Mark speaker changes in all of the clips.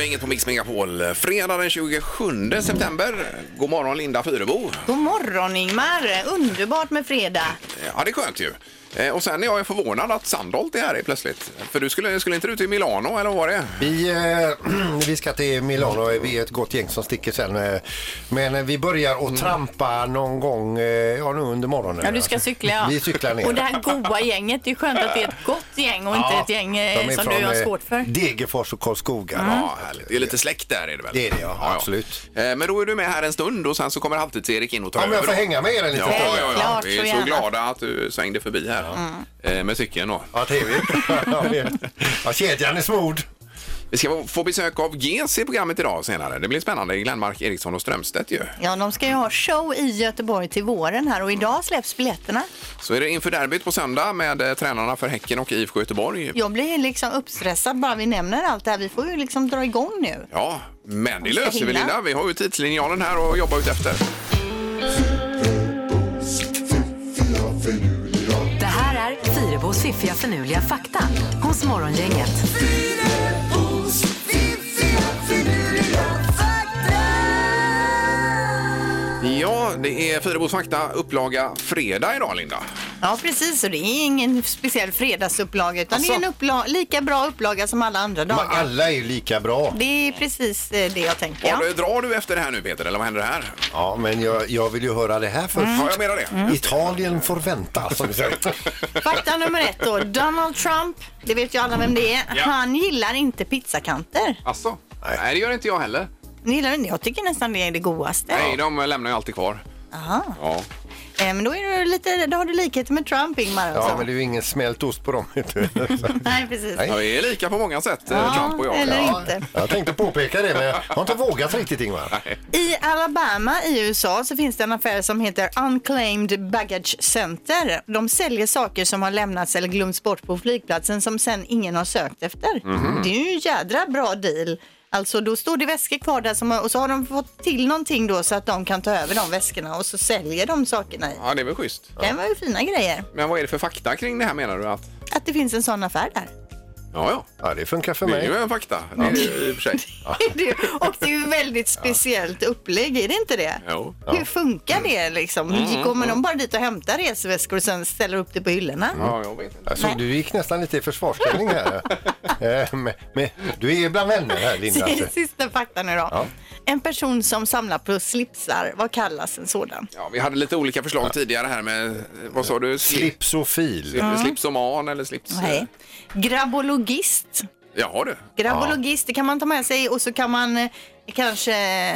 Speaker 1: ju inget på Mix Megapol. Fredag den 27 september. God morgon Linda Fyrebo.
Speaker 2: God morgon Ingmar! Underbart med fredag.
Speaker 1: Ja, det är skönt ju. Eh, Och sen är jag ju förvånad att Sandholt är här i plötsligt. För du skulle, skulle inte du till Milano eller vad var det?
Speaker 3: Vi, eh, vi ska till Milano, vi är ett gott gäng som sticker sen. eh, Men eh, vi börjar
Speaker 1: Mm.
Speaker 3: att trampa någon gång eh, ja, nu under morgonen.
Speaker 2: Ja, du ska cykla. ja.
Speaker 3: Vi cyklar ner.
Speaker 2: Och det här goa gänget, det är skönt att det är ett gott gäng och inte
Speaker 3: Ja,
Speaker 2: ett gäng eh,
Speaker 3: de är
Speaker 2: som
Speaker 3: från,
Speaker 2: du har
Speaker 3: eh,
Speaker 2: svårt för. Mm.
Speaker 3: Degerfors och Karlskoga.
Speaker 1: Ja, härligt. Det är lite släkt där är det väl?
Speaker 3: Det är det, ja. Absolut.
Speaker 1: Eh, Men då är du med här en stund och sen så kommer Halvtids-Erik in och tar
Speaker 3: Ja, men jag
Speaker 1: över
Speaker 3: får
Speaker 1: då.
Speaker 3: hänga med er en liten
Speaker 1: Ja, ja,
Speaker 3: stund.
Speaker 1: ja,
Speaker 2: Klart,
Speaker 1: Vi
Speaker 2: så
Speaker 1: är så
Speaker 2: gärna. Mm.
Speaker 1: glada att du svängde förbi här eh, med cykeln då.
Speaker 3: Ja, trevligt. Ja, det- ja, kedjan är smord.
Speaker 1: Vi ska få besök av GC i programmet idag senare. Det blir spännande. Glenmark, Eriksson och Strömstedt ju.
Speaker 2: Ja, de ska ju ha show i Göteborg till våren här och idag släpps biljetterna.
Speaker 1: Så är det inför derbyt på söndag med eh, tränarna för Häcken och IFK Göteborg.
Speaker 2: Jag blir liksom uppstressad bara vi nämner allt det här. Vi får ju liksom dra igång nu.
Speaker 1: Ja, men det
Speaker 2: Ska
Speaker 1: löser vi
Speaker 2: hinna.
Speaker 1: Linda. Vi har ju tidslinjalen här att jobba ut efter.
Speaker 4: Det här är Fyrabos fiffiga förnuliga fakta hos Morgongänget.
Speaker 1: Ja, det är Fyrebos fakta upplaga fredag idag Linda.
Speaker 2: Ja, precis. Och det är ingen speciell fredagsupplaga utan det är en uppla- lika bra upplaga som Alltså- alla andra
Speaker 3: Men
Speaker 2: dagar.
Speaker 3: alla är ju lika bra.
Speaker 2: Det är precis eh, det jag tänker.
Speaker 1: Ja.
Speaker 2: Ja.
Speaker 1: Drar du efter det här nu Peter, eller vad händer här? Mm.
Speaker 3: Ja, men jag, jag vill ju höra det här först.
Speaker 1: Ja, jag menar det.
Speaker 3: Italien får vänta, som vi säger.
Speaker 2: Fakta nummer ett då. Donald Trump, det vet ju alla vem det är,
Speaker 1: Ja.
Speaker 2: han gillar inte pizzakanter.
Speaker 1: Alltså, nej.
Speaker 3: Nej.
Speaker 1: det gör inte jag heller.
Speaker 2: Ni gillar den? Jag tycker nästan det är det godaste.
Speaker 1: Nej, de lämnar ju alltid kvar.
Speaker 2: Aha.
Speaker 1: Ja.
Speaker 2: Eh, men då, är det lite, då har du likheter med Trump, Ingmar.
Speaker 3: Ja,
Speaker 2: Alltså.
Speaker 3: men det är ju ingen smält ost på dem. vet du.
Speaker 2: Nej, precis.
Speaker 3: Nej.
Speaker 1: Ja, vi är lika på många sätt, eh,
Speaker 2: Ja,
Speaker 1: Trump och jag.
Speaker 2: eller
Speaker 1: ja.
Speaker 2: inte.
Speaker 3: Jag tänkte påpeka det, men jag har inte vågat riktigt, Ingvar.
Speaker 2: I Alabama i USA så finns det en affär som heter Unclaimed Baggage Center. De säljer saker som har lämnats eller glömts bort på flygplatsen som sen ingen har sökt efter. Det är ju en jädra bra deal. Alltså då står det väskor kvar där som, har- och så har de fått till någonting då så att de kan ta över de väskorna och så säljer de sakerna i.
Speaker 1: ja, det är väl schysst.
Speaker 2: Det var ju fina grejer.
Speaker 1: Men vad är det för fakta kring det här menar du? Att...
Speaker 2: Att det finns en sån affär där.
Speaker 1: Ja, ja.
Speaker 3: Ja, det funkar för
Speaker 1: Det är ju
Speaker 3: mig.
Speaker 1: en fakta. Det är ju i och för sig.
Speaker 2: Det är- och det är ju väldigt speciellt upplägg, är det inte det?
Speaker 1: Jo.
Speaker 2: Hur funkar det liksom?
Speaker 1: Mm,
Speaker 2: Kommer de bara dit och hämtar resväskor och sen ställer upp det på hyllorna?
Speaker 1: Ja, jag vet inte.
Speaker 3: Jag såg du gick nästan lite i försvarsställning här. Eh, men, men, du är bland vänner här, Linda. alltså.
Speaker 2: Sista faktan idag.
Speaker 3: Ja.
Speaker 2: En person som samlar på slipsar, vad kallas en sådan?
Speaker 1: Ja, vi hade lite olika förslag tidigare här med, vad sa du? Slip,
Speaker 3: Slipsofil.
Speaker 1: Slipsoman eller slips...
Speaker 2: Nej. Grabologist.
Speaker 1: Jaha du.
Speaker 2: Grabologist, det kan man ta med sig och så kan man eh, kanske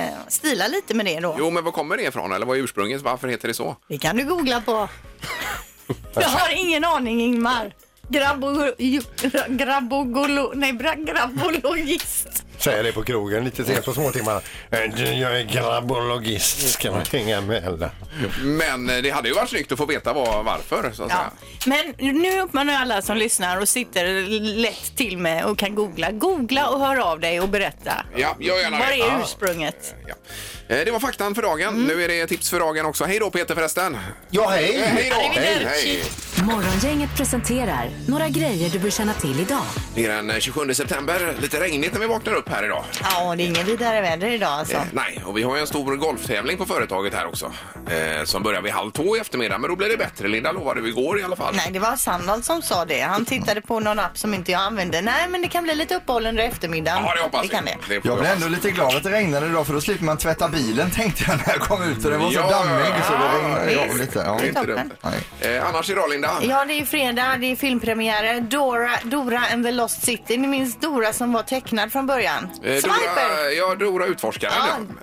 Speaker 2: eh, stila lite med det då.
Speaker 1: Jo, men var kommer det ifrån? Eller vad är ursprunget? Varför heter det så?
Speaker 2: Det kan du googla på. Jag har ingen aning Ingmar. Grabbo, ju- gra- grabbogolo, nej, bra- grabbologist.
Speaker 3: Säger det på krogen lite sent på småtimmarna. Eh, du, Jag är grabbologist, ska man hänga med eller?
Speaker 1: Mm. Men eh, det hade ju varit snyggt att få veta vad, varför. Så att
Speaker 2: Ja.
Speaker 1: säga.
Speaker 2: Men nu uppmanar jag alla som lyssnar och sitter lätt till med och kan googla. Googla och hör av dig och berätta.
Speaker 1: Ja, gör gärna
Speaker 2: Var
Speaker 1: det.
Speaker 2: är ursprunget?
Speaker 1: Ja. Eh, Det var faktan för dagen.
Speaker 2: Mm.
Speaker 1: Nu är det tips för dagen också. Hej då Peter förresten! Eh,
Speaker 3: Ja, hej!
Speaker 1: Hej då!
Speaker 2: Arrivederci.
Speaker 4: Morgongänget presenterar några grejer du bör känna till idag.
Speaker 1: Det är den eh, 27 september. Lite regnigt när vi vaknar upp här idag.
Speaker 2: Ja, det är inget vidare väder idag alltså.
Speaker 1: Eh, Nej, och vi har ju en stor golftävling på företaget här också. Eh, som börjar vid halv två i eftermiddag, men då blir det bättre. Linda lovade vi igår i alla fall.
Speaker 2: Nej, det var Sandal som sa det. Han tittade på någon app som inte jag använde. Nej, men det kan bli lite uppehåll under eftermiddagen.
Speaker 1: Ja, det hoppas
Speaker 2: det
Speaker 1: vi.
Speaker 2: kan det.
Speaker 1: Det får
Speaker 5: Jag
Speaker 1: vi
Speaker 5: blev
Speaker 1: hoppas.
Speaker 5: ändå lite glad att det regnade idag för då slipper man tvätta bilen tänkte jag när jag kom ut och den var så
Speaker 1: Ja,
Speaker 5: dammig
Speaker 1: ja,
Speaker 5: så då
Speaker 1: ja,
Speaker 5: regnade det
Speaker 2: visst.
Speaker 5: av lite. Ja.
Speaker 1: Det är inte
Speaker 2: Toppen.
Speaker 1: dumt. Eh, annars idag Linda?
Speaker 2: Ja, det är fredag, det är filmpremiärer. Dora, Dora and the Lost City. Ni minns Dora som var tecknad från början?
Speaker 1: Eh,
Speaker 2: Swiper!
Speaker 1: Dora, ja, Dora utforskaren.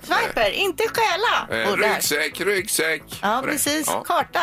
Speaker 2: Ja, swiper, inte stjäla!
Speaker 1: Eh,
Speaker 2: Och där.
Speaker 1: ryggsäck, ryggsäck.
Speaker 2: Ja,
Speaker 1: Och det.
Speaker 2: precis.
Speaker 1: Ja. Mm.
Speaker 2: Karta.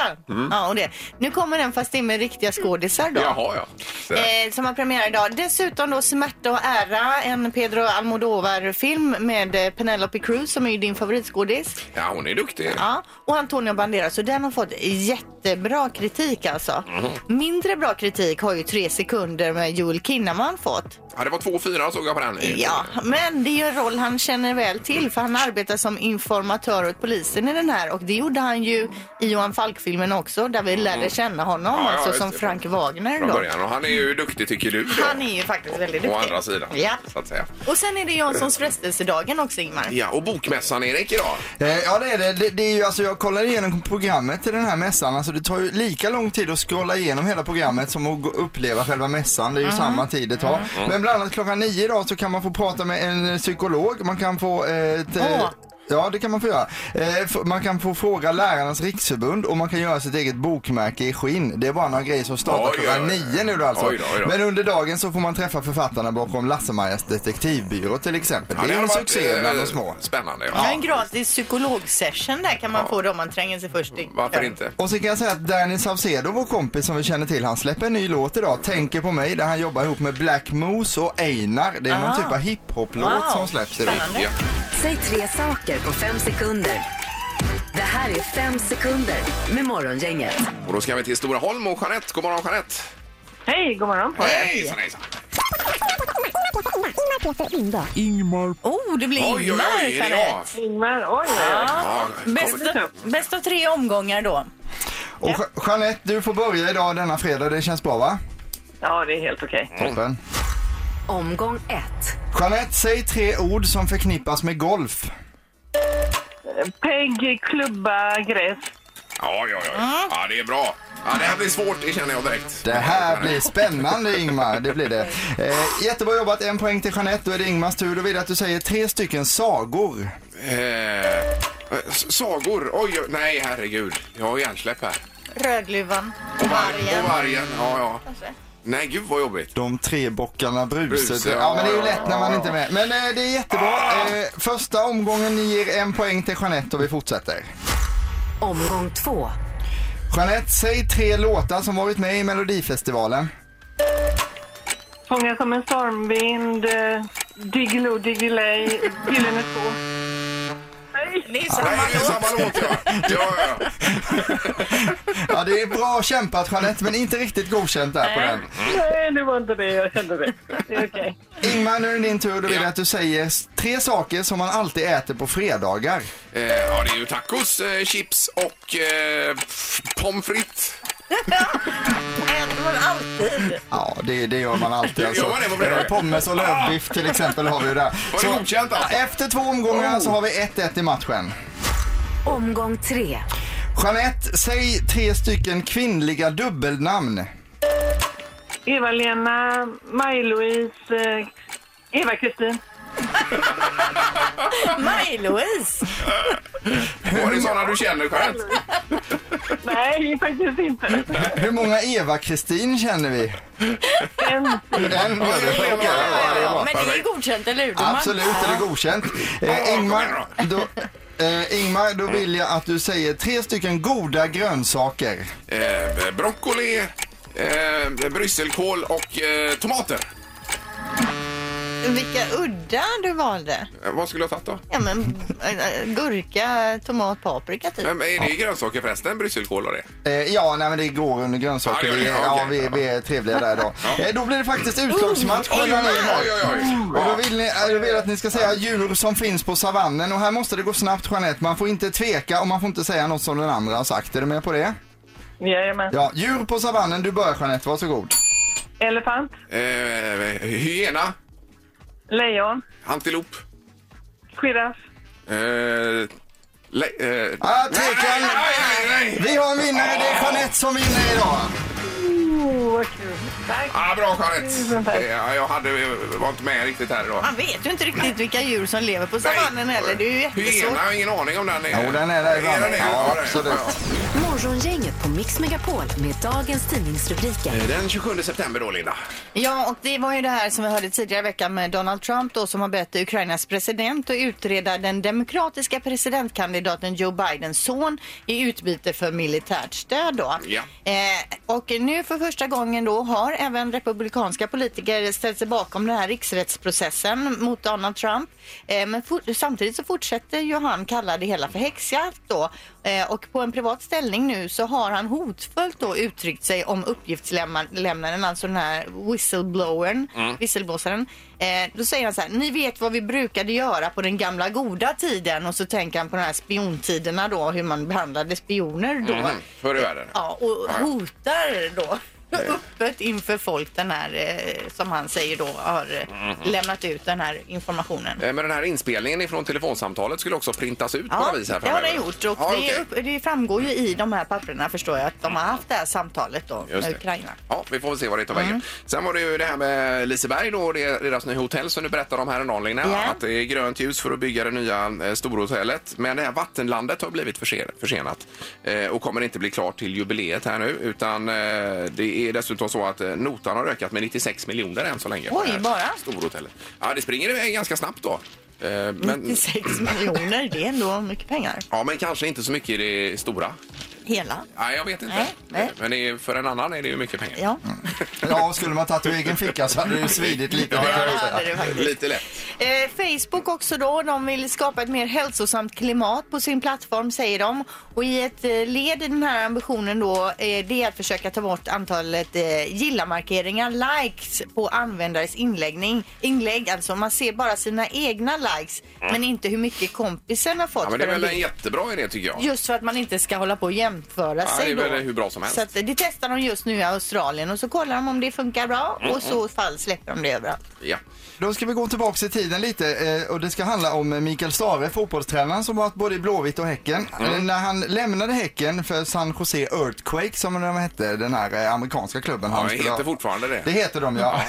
Speaker 2: Ja, och det. Nu kommer den fast det är med riktiga skådisar då.
Speaker 1: Jaha, ja. Så.
Speaker 2: Eh, som har premiär idag. Dessutom då Smärta och ära, en Pedro Almodovar-film med eh, Penelope Cruz som är ju din favoritskådis.
Speaker 1: Ja, hon är duktig.
Speaker 2: Ja, och Antonio Banderas. Så den har fått jätte jättebra kritik alltså.
Speaker 1: Mm.
Speaker 2: Mindre bra kritik har ju tre sekunder med Joel Kinnaman fått.
Speaker 1: Ja, det var 2-4 såg jag på den.
Speaker 2: Ja, men det är ju en roll han känner väl till för han arbetar som informatör åt polisen i den här och det gjorde han ju i Johan Falk-filmen också där vi lärde känna honom,
Speaker 1: Mm. Ja, ja,
Speaker 2: alltså
Speaker 1: just
Speaker 2: som
Speaker 1: det.
Speaker 2: Frank Wagner
Speaker 1: Från
Speaker 2: då.
Speaker 1: början. Och han är ju duktig tycker du. då.
Speaker 2: Han är ju faktiskt väldigt
Speaker 1: Å
Speaker 2: duktig.
Speaker 1: andra sidan.
Speaker 2: Ja.
Speaker 1: Så att säga.
Speaker 2: Och sen är det Janssons frestelsedagen också, Ingmar.
Speaker 1: Ja, och bokmässan Erik idag.
Speaker 5: Eh, Ja det är det. det, det är ju, alltså, jag kollar igenom programmet till den här mässan. Alltså, det tar ju lika lång tid att scrolla igenom hela programmet som att gå- uppleva själva mässan.
Speaker 1: Mm.
Speaker 5: Det är ju samma tid det tar. Men bland annat klockan nio idag så kan man få prata med en eh, psykolog. Man kan få eh, ett, eh,
Speaker 2: Åh.
Speaker 5: Ja, det kan man få göra. Eh, f- Man kan få fråga Lärarnas riksförbund och man kan göra sitt eget bokmärke i skinn. Det är bara några grejer som startar
Speaker 1: Oj,
Speaker 5: klockan
Speaker 1: oj, oj.
Speaker 5: nio nu då alltså.
Speaker 1: Oj då, oj då.
Speaker 5: Men under dagen så får man träffa författarna bakom Lasse-Majas detektivbyrå till exempel.
Speaker 1: Ja,
Speaker 5: det är
Speaker 1: har
Speaker 5: en
Speaker 1: varit,
Speaker 5: succé
Speaker 1: eh,
Speaker 5: bland de små.
Speaker 1: Spännande.
Speaker 2: Ja,
Speaker 1: Ja.
Speaker 2: en gratis psykologsession där kan man få då om man tränger sig först in.
Speaker 1: Varför inte?
Speaker 5: Och så kan jag säga att Danny Saucedo, vår kompis som vi känner till, han släpper en ny låt idag, Tänker på mig, där han jobbar ihop med Black Moose och Einar. Det är någon
Speaker 2: Ah.
Speaker 5: typ av hiphop-låt
Speaker 2: Wow.
Speaker 5: som släpps idag.
Speaker 2: Spännande.
Speaker 1: Ja.
Speaker 4: Säg tre saker på fem sekunder. Det här är fem sekunder med Morgongänget.
Speaker 1: Och då ska vi till Stora Holm och Jeanette. God morgon Jeanette!
Speaker 6: Hej, god morgon på er.
Speaker 1: Hejsan hejsan!
Speaker 2: Oh, det blir
Speaker 1: Oj, oj,
Speaker 2: Ingmar,
Speaker 1: oj, är det jag?
Speaker 2: Jeanette.
Speaker 6: Ingmar, oj, oj, oj.
Speaker 1: Ja,
Speaker 2: Bäst,
Speaker 6: Kommer.
Speaker 2: bäst av tre omgångar då.
Speaker 5: Och Je- Jeanette, du får börja idag denna fredag. Det känns bra va?
Speaker 6: Ja, det är helt okej.
Speaker 4: Mm.
Speaker 1: Mm.
Speaker 5: Toppen.
Speaker 4: Omgång ett.
Speaker 5: Jeanette, säg tre ord som förknippas med golf.
Speaker 6: Pegg, klubba, gräs.
Speaker 1: ja, ja, ja.
Speaker 2: Mm.
Speaker 1: ja, det är bra. Ja, det här blir svårt, det känner jag direkt.
Speaker 5: Det
Speaker 1: Mm.
Speaker 5: här blir spännande Ingmar, det blir det. Eh, jättebra jobbat, en poäng till Jeanette. Då är det Ingmars tur. Då vill jag att du säger tre stycken sagor.
Speaker 1: Eh, s- sagor. Oj, oj, nej herregud. Jag har hjärnsläpp här.
Speaker 2: Rödluvan,
Speaker 1: Och
Speaker 2: vargen.
Speaker 1: vargen. Ja, ja. Nej, gud vad jobbigt.
Speaker 5: De tre bockarna bruset.
Speaker 1: Bruse,
Speaker 5: ja,
Speaker 1: ja,
Speaker 5: men det är ju
Speaker 1: ja, Ah.
Speaker 5: lätt när man inte är med. Men eh, det är jättebra. Eh, första omgången ni ger en poäng till Jeanette och vi fortsätter.
Speaker 4: Omgång två.
Speaker 5: Jeanette, säg tre låtar som varit med i Melodifestivalen.
Speaker 6: Fångad som en stormvind, eh, Diggiloo, Diggiley, Gyllene Sko.
Speaker 2: Det är
Speaker 1: Nej,
Speaker 2: samma
Speaker 1: det är
Speaker 2: låt.
Speaker 1: samma låt ja. ja, ja, ja.
Speaker 5: Ja, det är bra kämpat Jeanette, men inte riktigt godkänt där på den.
Speaker 6: Nej, det var inte det. Jag kände det. Det är okej.
Speaker 5: Ingmar, nu är det din tur. Då vill jag att du säger s- tre saker som man alltid äter på fredagar.
Speaker 1: Eh, ja, det är ju tacos, eh, chips och eh, f- pommes frites.
Speaker 2: Äter man alltid.
Speaker 5: Ja, det, det gör man alltid.
Speaker 1: Gör man det på fredagar?
Speaker 5: Eh, Pommes och lövbiff till exempel har vi ju där.
Speaker 1: Var det godkänt, alltså?
Speaker 5: Efter två omgångar så har vi 1-1 i matchen.
Speaker 4: Omgång tre.
Speaker 5: Jeanette, säg tre stycken kvinnliga dubbelnamn.
Speaker 6: Eva-Lena, Maj-Louise, eh, Eva-Kristin.
Speaker 2: Maj-Louise.
Speaker 1: Var det sådana du känner, Jeanette?
Speaker 6: Nej, faktiskt inte.
Speaker 5: Hur många Eva-Kristin känner vi?
Speaker 6: En.
Speaker 5: En gör
Speaker 1: Oj,
Speaker 5: det.
Speaker 1: oj, oj,
Speaker 5: Ja, det är bra.
Speaker 2: Men det är godkänt, eller hur? Domaren?
Speaker 5: Absolut, är det godkänt. Eh, Ingmar, då, eh, Ingmar, då vill jag att du säger tre stycken goda grönsaker.
Speaker 1: Eh, broccoli, eh, brysselkål och eh, tomater.
Speaker 2: Vilka udda du valde.
Speaker 1: Eh, vad skulle jag tagit då?
Speaker 2: Ja, men eh, gurka, tomat, paprika typ.
Speaker 1: Eh, men är det grönsaker förresten, brysselkål och det?
Speaker 5: Eh, ja, nej, men det går under grönsaker.
Speaker 1: Ja, det
Speaker 5: Vi,
Speaker 1: gör det.
Speaker 5: ja,
Speaker 1: Okej.
Speaker 5: vi, vi är trevliga där idag. Eh, då blir det faktiskt utslagsmatch.
Speaker 1: Oj, oj, oj, oj,
Speaker 5: Och då
Speaker 1: oj.
Speaker 5: vill, ni, eh, då vill jag att ni ska säga djur som finns på savannen och här måste det gå snabbt Jeanette. Man får inte tveka och man får inte säga något som den andra har sagt. Är du med på det?
Speaker 6: Jajamän.
Speaker 5: Ja, djur på savannen. Du börjar Jeanette, varsågod.
Speaker 6: Elefant,
Speaker 1: Eh, hyena,
Speaker 6: lejon,
Speaker 1: antilop,
Speaker 6: giraff.
Speaker 1: eh, le, eh,
Speaker 5: Ah, tvekan!
Speaker 1: nej, nej, nej!
Speaker 5: Vi har en vinnare, det är Jeanette som vinner idag.
Speaker 6: Oh, vad kul. Tack.
Speaker 1: Ah, bra Jeanette!
Speaker 6: Tusen tack.
Speaker 1: Eh, jag hade, var inte med riktigt här idag.
Speaker 2: Man vet ju inte riktigt vilka djur som lever på
Speaker 1: Nej.
Speaker 2: savannen heller. Det är ju
Speaker 1: Hyena,
Speaker 2: jättesvårt.
Speaker 1: jag har ingen aning om den är.
Speaker 5: Jo, den är där
Speaker 1: Är
Speaker 5: ibland.
Speaker 1: den det?
Speaker 5: Ja,
Speaker 1: det är-
Speaker 5: absolut.
Speaker 4: Morgongänget på Mix Megapol med dagens tidningsrubriker.
Speaker 1: Eh, Den 27 september då, Linda.
Speaker 2: Ja, och det var ju det här som vi hörde tidigare i veckan med Donald Trump då som har bett Ukrainas president att utreda den demokratiska presidentkandidaten Joe Bidens son i utbyte för militärt stöd då.
Speaker 1: Ja.
Speaker 2: Eh, och nu för första gången då har även republikanska politiker ställt sig bakom den här riksrättsprocessen mot Donald Trump. Eh, Men for- samtidigt så fortsätter ju han kalla det hela för häxjakt då. Eh, Och på en privat ställning nu så har han hotfullt då uttryckt sig om uppgiftslämnaren, alltså den här whistleblowern, visselblåsaren. Eh, Då säger han så här, ni vet vad vi brukade göra på den gamla goda tiden och så tänker han på de här spiontiderna då, hur man behandlade spioner då.
Speaker 1: Mhm, Förr i världen.
Speaker 2: Ja, och hotar då öppet inför folk den här, eh, som han säger då, har eh,
Speaker 1: Mhm.
Speaker 2: lämnat ut den här informationen.
Speaker 1: Eh, Men den här inspelningen ifrån telefonsamtalet skulle också printas ut på
Speaker 2: Ja,
Speaker 1: något vis här
Speaker 2: det har
Speaker 1: framöver.
Speaker 2: den gjort och
Speaker 1: Ja,
Speaker 2: det,
Speaker 1: okej.
Speaker 2: är upp- det framgår ju i de här papperna förstår jag att de har haft det här samtalet då
Speaker 1: Just
Speaker 2: med
Speaker 1: det.
Speaker 2: Ukraina.
Speaker 1: Ja, vi får väl se vad det tar vägen.
Speaker 2: Mm.
Speaker 1: Sen var det ju det här med Liseberg då och det, deras nya hotell som du berättade om häromdagen Lina.
Speaker 2: Ja.
Speaker 1: Att det är grönt ljus för att bygga det nya eh, storhotellet. Men det här vattenlandet har blivit försen, försenat eh, och kommer inte bli klart till jubileet här nu. Utan eh, det är dessutom så att eh, notan har ökat med 96 miljoner än så länge. för
Speaker 2: Oj,
Speaker 1: det här
Speaker 2: bara?
Speaker 1: Storhotellet. Ja, det springer iväg ganska snabbt då. Eh, men,
Speaker 2: 96 miljoner, det är ändå mycket pengar.
Speaker 1: ja, men kanske inte så mycket i det stora.
Speaker 2: Hela.
Speaker 1: Nej, jag vet inte.
Speaker 2: Nej, nej.
Speaker 1: Men det är, för en annan är det ju mycket pengar.
Speaker 2: Ja.
Speaker 5: Ja, skulle man tagit ur egen ficka så hade det ju svidit lite. det kan jag ju säga.
Speaker 2: hade det faktiskt.
Speaker 1: Lite lätt.
Speaker 2: Eh, Facebook också då, de vill skapa ett mer hälsosamt klimat på sin plattform säger de. Och i ett eh, led i den här ambitionen då eh, det är att försöka ta bort antalet eh, gilla-markeringar, likes på användares inläggning, inlägg. Alltså man ser bara sina egna likes men inte hur mycket kompisen har fått.
Speaker 1: Mm. Ja, men det är
Speaker 2: för en
Speaker 1: väl en
Speaker 2: bild.
Speaker 1: jättebra idé tycker jag.
Speaker 2: Just för att man inte ska hålla på och jämföra
Speaker 1: Ja,
Speaker 2: sig.
Speaker 1: det är väl
Speaker 2: då.
Speaker 1: hur bra som helst.
Speaker 2: Så att, eh, det testar de just nu i Australien och så kollar de om det funkar bra och så fall släpper de det överallt.
Speaker 1: Ja.
Speaker 5: Då ska vi gå tillbaks i tiden lite eh, och det ska handla om eh, Mikael Stare, fotbollstränaren som varit både i Blåvitt och Häcken.
Speaker 1: Mm.
Speaker 5: Eh, När han lämnade Häcken för San Jose Earthquake som de hette, den här eh, amerikanska klubben.
Speaker 1: Ja,
Speaker 5: han
Speaker 1: det
Speaker 5: skulle ha.
Speaker 1: heter fortfarande det.
Speaker 5: Det heter de ja.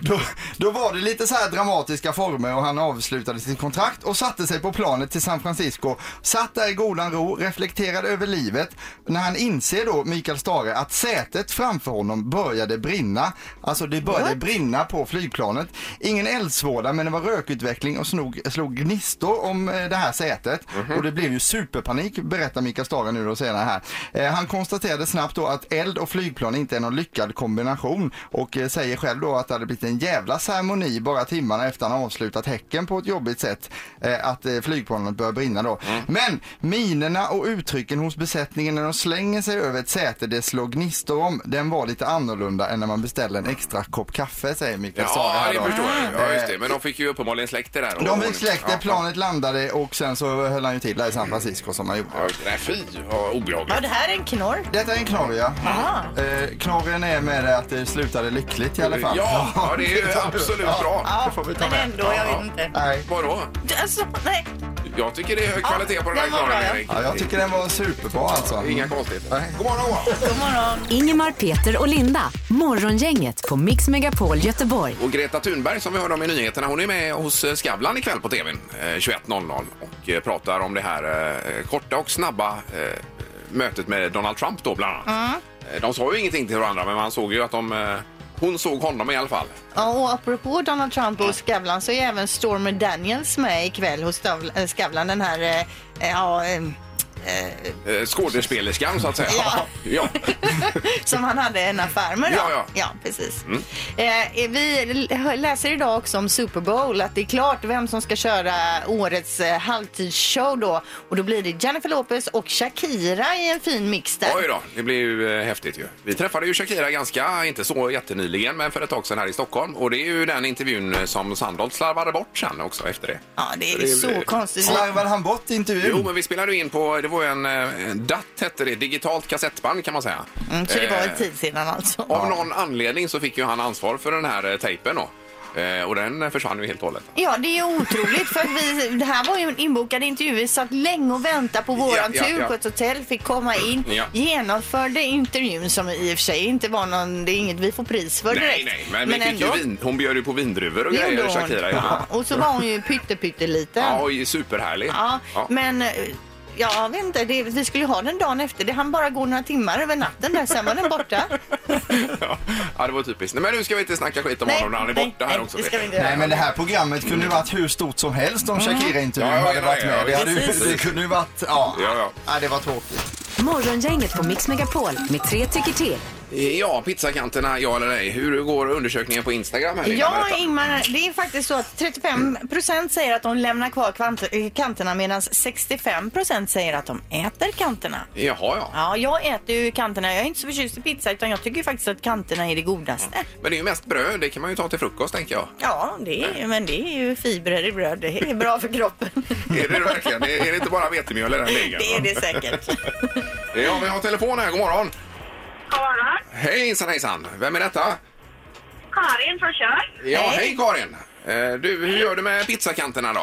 Speaker 5: då, då var det lite så här dramatiska former och han avslutade sitt kontrakt och satte sig på planet till San Francisco. Satt där i godan ro, reflekterade över livet. När han inser då, Mikael Stare, att sätet framför honom började brinna. Alltså det började brinna på flygplanet. Ingen eldsvåda men det var rökutveckling och snog, slog gnistor om eh, det här sätet. Och det blev ju superpanik berättar Mikael Stare nu då senare här. Eh, han konstaterade snabbt då att eld och flygplan inte är någon lyckad kombination och eh, säger själv då att det hade blivit en jävla ceremoni bara timmarna efter han avslutat häcken på ett jobbigt sätt eh, att eh, flygplanet börjar brinna då.
Speaker 1: Mm.
Speaker 5: Men minerna och uttrycken hos besättningen när de slänger sig över ett säte det slår gnistor om, den var lite annorlunda än när man beställer en extra kopp kaffe säger Mikael Stare
Speaker 1: Ja,
Speaker 5: här
Speaker 1: det
Speaker 5: då.
Speaker 1: förstår jag. Ja, just det.
Speaker 5: Eh,
Speaker 1: Men de fick ju uppenbarligen släkt det där.
Speaker 5: De fick släkt,
Speaker 1: Ja.
Speaker 5: planet landade och sen så höll han ju till där i San Francisco som han gjorde.
Speaker 1: Ja, Nej, fy vad obehagligt.
Speaker 2: Ja, det här är en knorr.
Speaker 5: Detta är en knorr ja.
Speaker 2: Aha.
Speaker 5: Eh, knorren är med det att det slutade lyckligt i alla fall.
Speaker 1: Ja, ja, det är ju absolut bra.
Speaker 2: Ja, men ändå, jag
Speaker 1: Ja.
Speaker 2: vet inte.
Speaker 5: Nej.
Speaker 1: Vadå?
Speaker 2: Alltså, nej.
Speaker 1: Jag tycker det är hög
Speaker 2: Ja,
Speaker 1: kvalitet på den här
Speaker 2: den var bra,
Speaker 1: knorren,
Speaker 2: ja.
Speaker 1: Erik.
Speaker 5: Ja, jag tycker den var superbra alltså.
Speaker 1: Inga konstigheter.
Speaker 5: Nej.
Speaker 1: God morgon, god morgon.
Speaker 2: God morgon.
Speaker 4: Ingemar, Peter och Linda. Morgongänget på Mix Megapol Göteborg.
Speaker 1: Och Greta Thunberg som vi hörde om i nyheterna, hon är med hos eh, Skavlan ikväll på tvn eh, 21.00 och eh, pratar om det här eh, korta och snabba eh, mötet med Donald Trump då bland annat.
Speaker 2: Mm.
Speaker 1: Eh, De sa ju ingenting till varandra men man såg ju att de, eh, hon såg honom i alla fall.
Speaker 2: Ja, och apropå Donald Trump och Skavlan så är även Stormy Daniels med ikväll hos Stav- eh, Skavlan. Den här, eh, eh, ja, eh, eh,
Speaker 1: Eh, Skådespelerskan så att säga.
Speaker 2: Ja.
Speaker 1: ja.
Speaker 2: som han hade en affär med. Då.
Speaker 1: Ja, ja.
Speaker 2: precis.
Speaker 1: Mm.
Speaker 2: Eh, vi l- läser idag också om Super Bowl, att det är klart vem som ska köra årets eh, halvtidsshow då. Och då blir det Jennifer Lopez och Shakira i en fin mix där.
Speaker 1: Oj då, det blir ju eh, häftigt ju. Vi träffade ju Shakira ganska, inte så jättenyligen, men för ett tag sedan här i Stockholm. Och det är ju den intervjun eh, som Sandholt slarvade bort sen också efter det.
Speaker 2: Ja, det är
Speaker 1: Det är-
Speaker 2: så konstigt.
Speaker 5: Slarvade han bort intervjun?
Speaker 1: Jo, men vi spelade ju in på, det var ju en, eh, en DAT hette det, digitalt kassettband kan man säga.
Speaker 2: Mm, så det var
Speaker 1: Eh,
Speaker 2: en tid sedan alltså.
Speaker 1: Av någon anledning så fick ju han ansvar för den här eh, tejpen då. Eh, och den eh, försvann ju helt och hållet.
Speaker 2: Ja, det är otroligt för att vi, det här var ju en inbokad intervju. Vi satt länge och väntade på våran
Speaker 1: Ja, ja,
Speaker 2: tur
Speaker 1: ja.
Speaker 2: på ett hotell, fick komma in,
Speaker 1: Ja.
Speaker 2: genomförde intervjun som i och för sig inte var någon, det är inget vi får pris för direkt.
Speaker 1: Nej, nej, men, vi fick ju vin, hon bjöd ju på vindruvor och
Speaker 2: Det gjorde
Speaker 1: grejer,
Speaker 2: hon.
Speaker 1: Shakira. Ja.
Speaker 2: Och så var hon ju pytteliten.
Speaker 1: Ja, och superhärlig.
Speaker 2: Ja,
Speaker 1: Ja.
Speaker 2: men eh, ja, jag vet inte, det, vi skulle ju ha den dagen efter. Det hann bara gå några timmar över natten där, sen var den borta.
Speaker 1: ja, det var typiskt. Nej, men nu ska vi inte snacka skit om honom när han är
Speaker 2: nej,
Speaker 1: borta här
Speaker 2: nej,
Speaker 1: också.
Speaker 2: det ska
Speaker 1: Peter.
Speaker 2: vi inte göra. Mm.
Speaker 5: Nej men det här programmet kunde ju varit hur stort som helst om Shakira-intervjun
Speaker 1: Ja, ja,
Speaker 5: hade
Speaker 1: ja,
Speaker 5: varit
Speaker 1: ja,
Speaker 5: med.
Speaker 1: ja,
Speaker 5: det, hade ju,
Speaker 1: precis.
Speaker 5: det kunde ju varit, ja.
Speaker 1: Ja, ja.
Speaker 5: det var tråkigt.
Speaker 4: Morgongänget på Mix Megapol med tre tycker till.
Speaker 1: Ja, pizzakanterna, ja eller nej. Hur går undersökningen på Instagram? Här, Linda?
Speaker 2: Ja,
Speaker 1: Berätta.
Speaker 2: Ingmar, det är faktiskt så att 35 procent säger att de lämnar kvar kvant- eh, kanterna medan 65 procent säger att de äter kanterna.
Speaker 1: Jaha, ja.
Speaker 2: Ja, jag äter ju kanterna. Jag är inte så förtjust i pizza utan jag tycker ju faktiskt att kanterna är det godaste.
Speaker 1: Men det är ju mest bröd, det kan man ju ta till frukost tänker jag.
Speaker 2: Ja, det är, men det är ju fibrer i bröd. Det är bra för kroppen.
Speaker 1: Är det verkligen? Är är det inte bara vetemjöl i den degen?
Speaker 2: Det är
Speaker 1: va?
Speaker 2: det säkert.
Speaker 1: Ja, vi har telefon här. God morgon!
Speaker 6: Karin,
Speaker 1: Hejsan hejsan! Vem är detta?
Speaker 6: Karin från Tjörn.
Speaker 1: Ja, hej,
Speaker 2: Hej.
Speaker 1: Karin! Eh, Du, hur gör du med pizzakanterna då?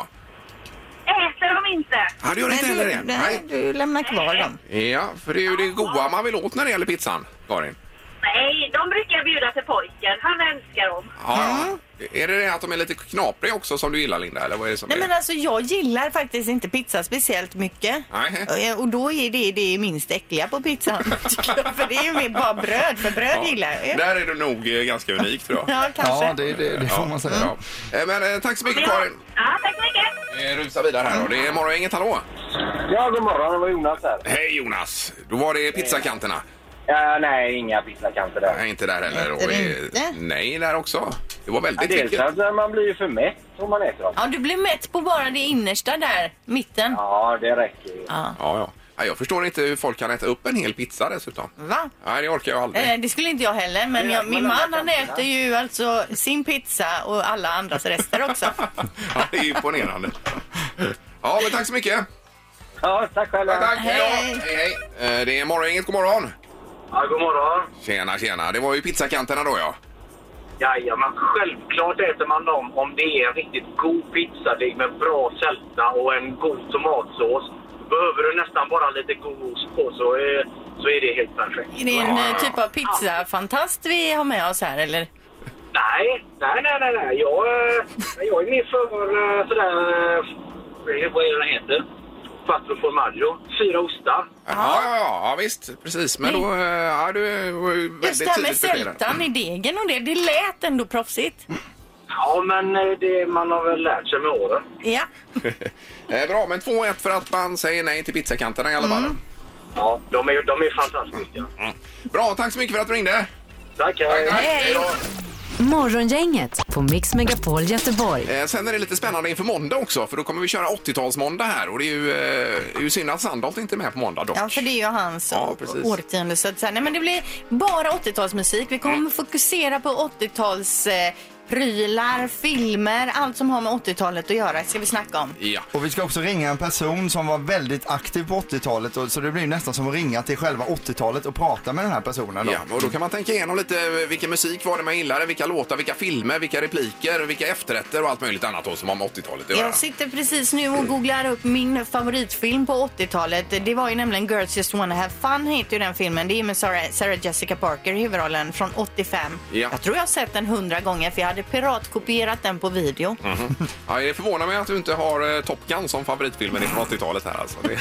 Speaker 6: Äter de inte?
Speaker 1: Ja, du gör inte heller det?
Speaker 2: du, nej, du lämnar kvar dem.
Speaker 1: Ja, för det är ju det goda man vill åt när det gäller pizzan, Karin.
Speaker 6: Nej, de brukar bjuda till pojken. Han älskar dem.
Speaker 2: Mm.
Speaker 1: Ja. Är det det att de är lite knapriga också som du gillar, Linda? Eller vad är det som
Speaker 2: Nej
Speaker 1: är?
Speaker 2: men alltså jag gillar faktiskt inte pizza speciellt mycket.
Speaker 1: Nej.
Speaker 2: Eh, Och då är det det minst äckliga på pizzan. tycker jag. för det är ju mer bara bröd, för bröd
Speaker 1: Ja,
Speaker 2: gillar jag ju.
Speaker 1: Där är du nog eh, ganska unik tror jag.
Speaker 2: Ja, kanske.
Speaker 5: Ja, det, det, det får man säga.
Speaker 1: Ja. Eh, Men eh, tack så mycket Karin.
Speaker 6: Ja, tack så mycket.
Speaker 1: Eh, Rusa vidare här då. Det är morgongänget, hallå!
Speaker 7: Ja, god morgon. Det var Jonas här.
Speaker 1: Hej Jonas! Då var det pizzakanterna.
Speaker 7: Ja, nej, inga pizzakanter där.
Speaker 1: Nej, inte där heller.
Speaker 2: Heter
Speaker 1: Och,
Speaker 2: det
Speaker 1: eh,
Speaker 2: inte?
Speaker 1: Nej, där också. Det var väldigt
Speaker 7: Dels
Speaker 1: mycket.
Speaker 7: att man blir ju för mätt om man äter dem.
Speaker 2: Ja, du blir mätt på bara det innersta där, mitten.
Speaker 7: Ja, det räcker ju.
Speaker 1: Ja, ja. Nej, Jag förstår inte hur folk kan äta upp en hel pizza dessutom.
Speaker 2: Va?
Speaker 1: Nej, det orkar jag aldrig.
Speaker 2: Eh, det skulle inte jag heller, men jag, min
Speaker 7: men
Speaker 2: man
Speaker 7: den
Speaker 2: han
Speaker 7: där
Speaker 2: äter ju alltså sin pizza och alla andras rester också.
Speaker 1: ja, det är imponerande. Ja, men tack så mycket.
Speaker 7: Ja, tack själva.
Speaker 1: Tack, hej då.
Speaker 2: Hej.
Speaker 1: Hej, hej. Eh, Det är morgongänget, god morgon.
Speaker 7: Ja, god morgon.
Speaker 1: Tjena, tjena. Det var ju pizzakanterna då ja.
Speaker 7: Jajamän, självklart äter man dem om det är en riktigt god pizzadeg med bra sälta och en god tomatsås. Behöver du nästan bara lite god ost på så är, så är det helt perfekt.
Speaker 2: Är det en eh, typ av pizzafantast vi har med oss här eller?
Speaker 7: Nej, nej, nej, nej. nej. Jag, eh, jag är mer för eh, sådär... eh, Vad är det den heter? Quattro formaggio. Fyra ostar.
Speaker 1: Ja, ja, ja, ja visst. Precis. Men då... eh, Ja, du var ju väldigt
Speaker 2: Just det här med
Speaker 1: tydligt besked där.
Speaker 2: sältan i degen och det, det lät ändå proffsigt.
Speaker 7: Ja, men eh, det man har väl lärt sig med åren.
Speaker 2: Ja.
Speaker 1: Eh, Bra, men 2-1 för att man säger nej till pizzakanterna i alla fall.
Speaker 2: Mm.
Speaker 1: Mm.
Speaker 7: Ja, de är, de är fantastiska.
Speaker 1: Bra, tack så mycket för att du ringde.
Speaker 7: Tack, hej.
Speaker 1: Hej då.
Speaker 4: Morgongänget på Mix Megapol Göteborg.
Speaker 1: Eh, sen är det lite spännande inför måndag också för då kommer vi köra 80-talsmåndag här och det är ju, eh, ju synd att Sandholt inte är med på måndag dock.
Speaker 2: Ja, för det är ju hans
Speaker 1: Ja, precis.
Speaker 2: årtionde. Så att, så här, nej, men det blir bara 80-talsmusik. Vi kommer fokusera på 80-tals... Eh, prylar, filmer, allt som har med 80-talet att göra ska vi snacka om.
Speaker 1: Ja.
Speaker 5: Och vi ska också ringa en person som var väldigt aktiv på 80-talet och- så det blir nästan som att ringa till själva 80-talet och prata med den här personen. Då.
Speaker 1: Ja, och då kan man tänka igenom lite eh, vilken musik var det man gillade, vilka låtar, vilka filmer, vilka repliker, vilka efterrätter och allt möjligt annat då som har med 80-talet att göra.
Speaker 2: Jag sitter precis nu och googlar upp min favoritfilm på 80-talet. Det var ju nämligen Girls Just Wanna Have Fun heter ju den filmen. Det är ju med Sarah, Sarah Jessica Parker i huvudrollen från 85.
Speaker 1: Ja.
Speaker 2: Jag tror jag har sett den hundra gånger för jag hade piratkopierat den på video.
Speaker 1: Mhm. Ja, det förvånar mig att du inte har eh, Top Gun som favoritfilmen från 80-talet här alltså. Det...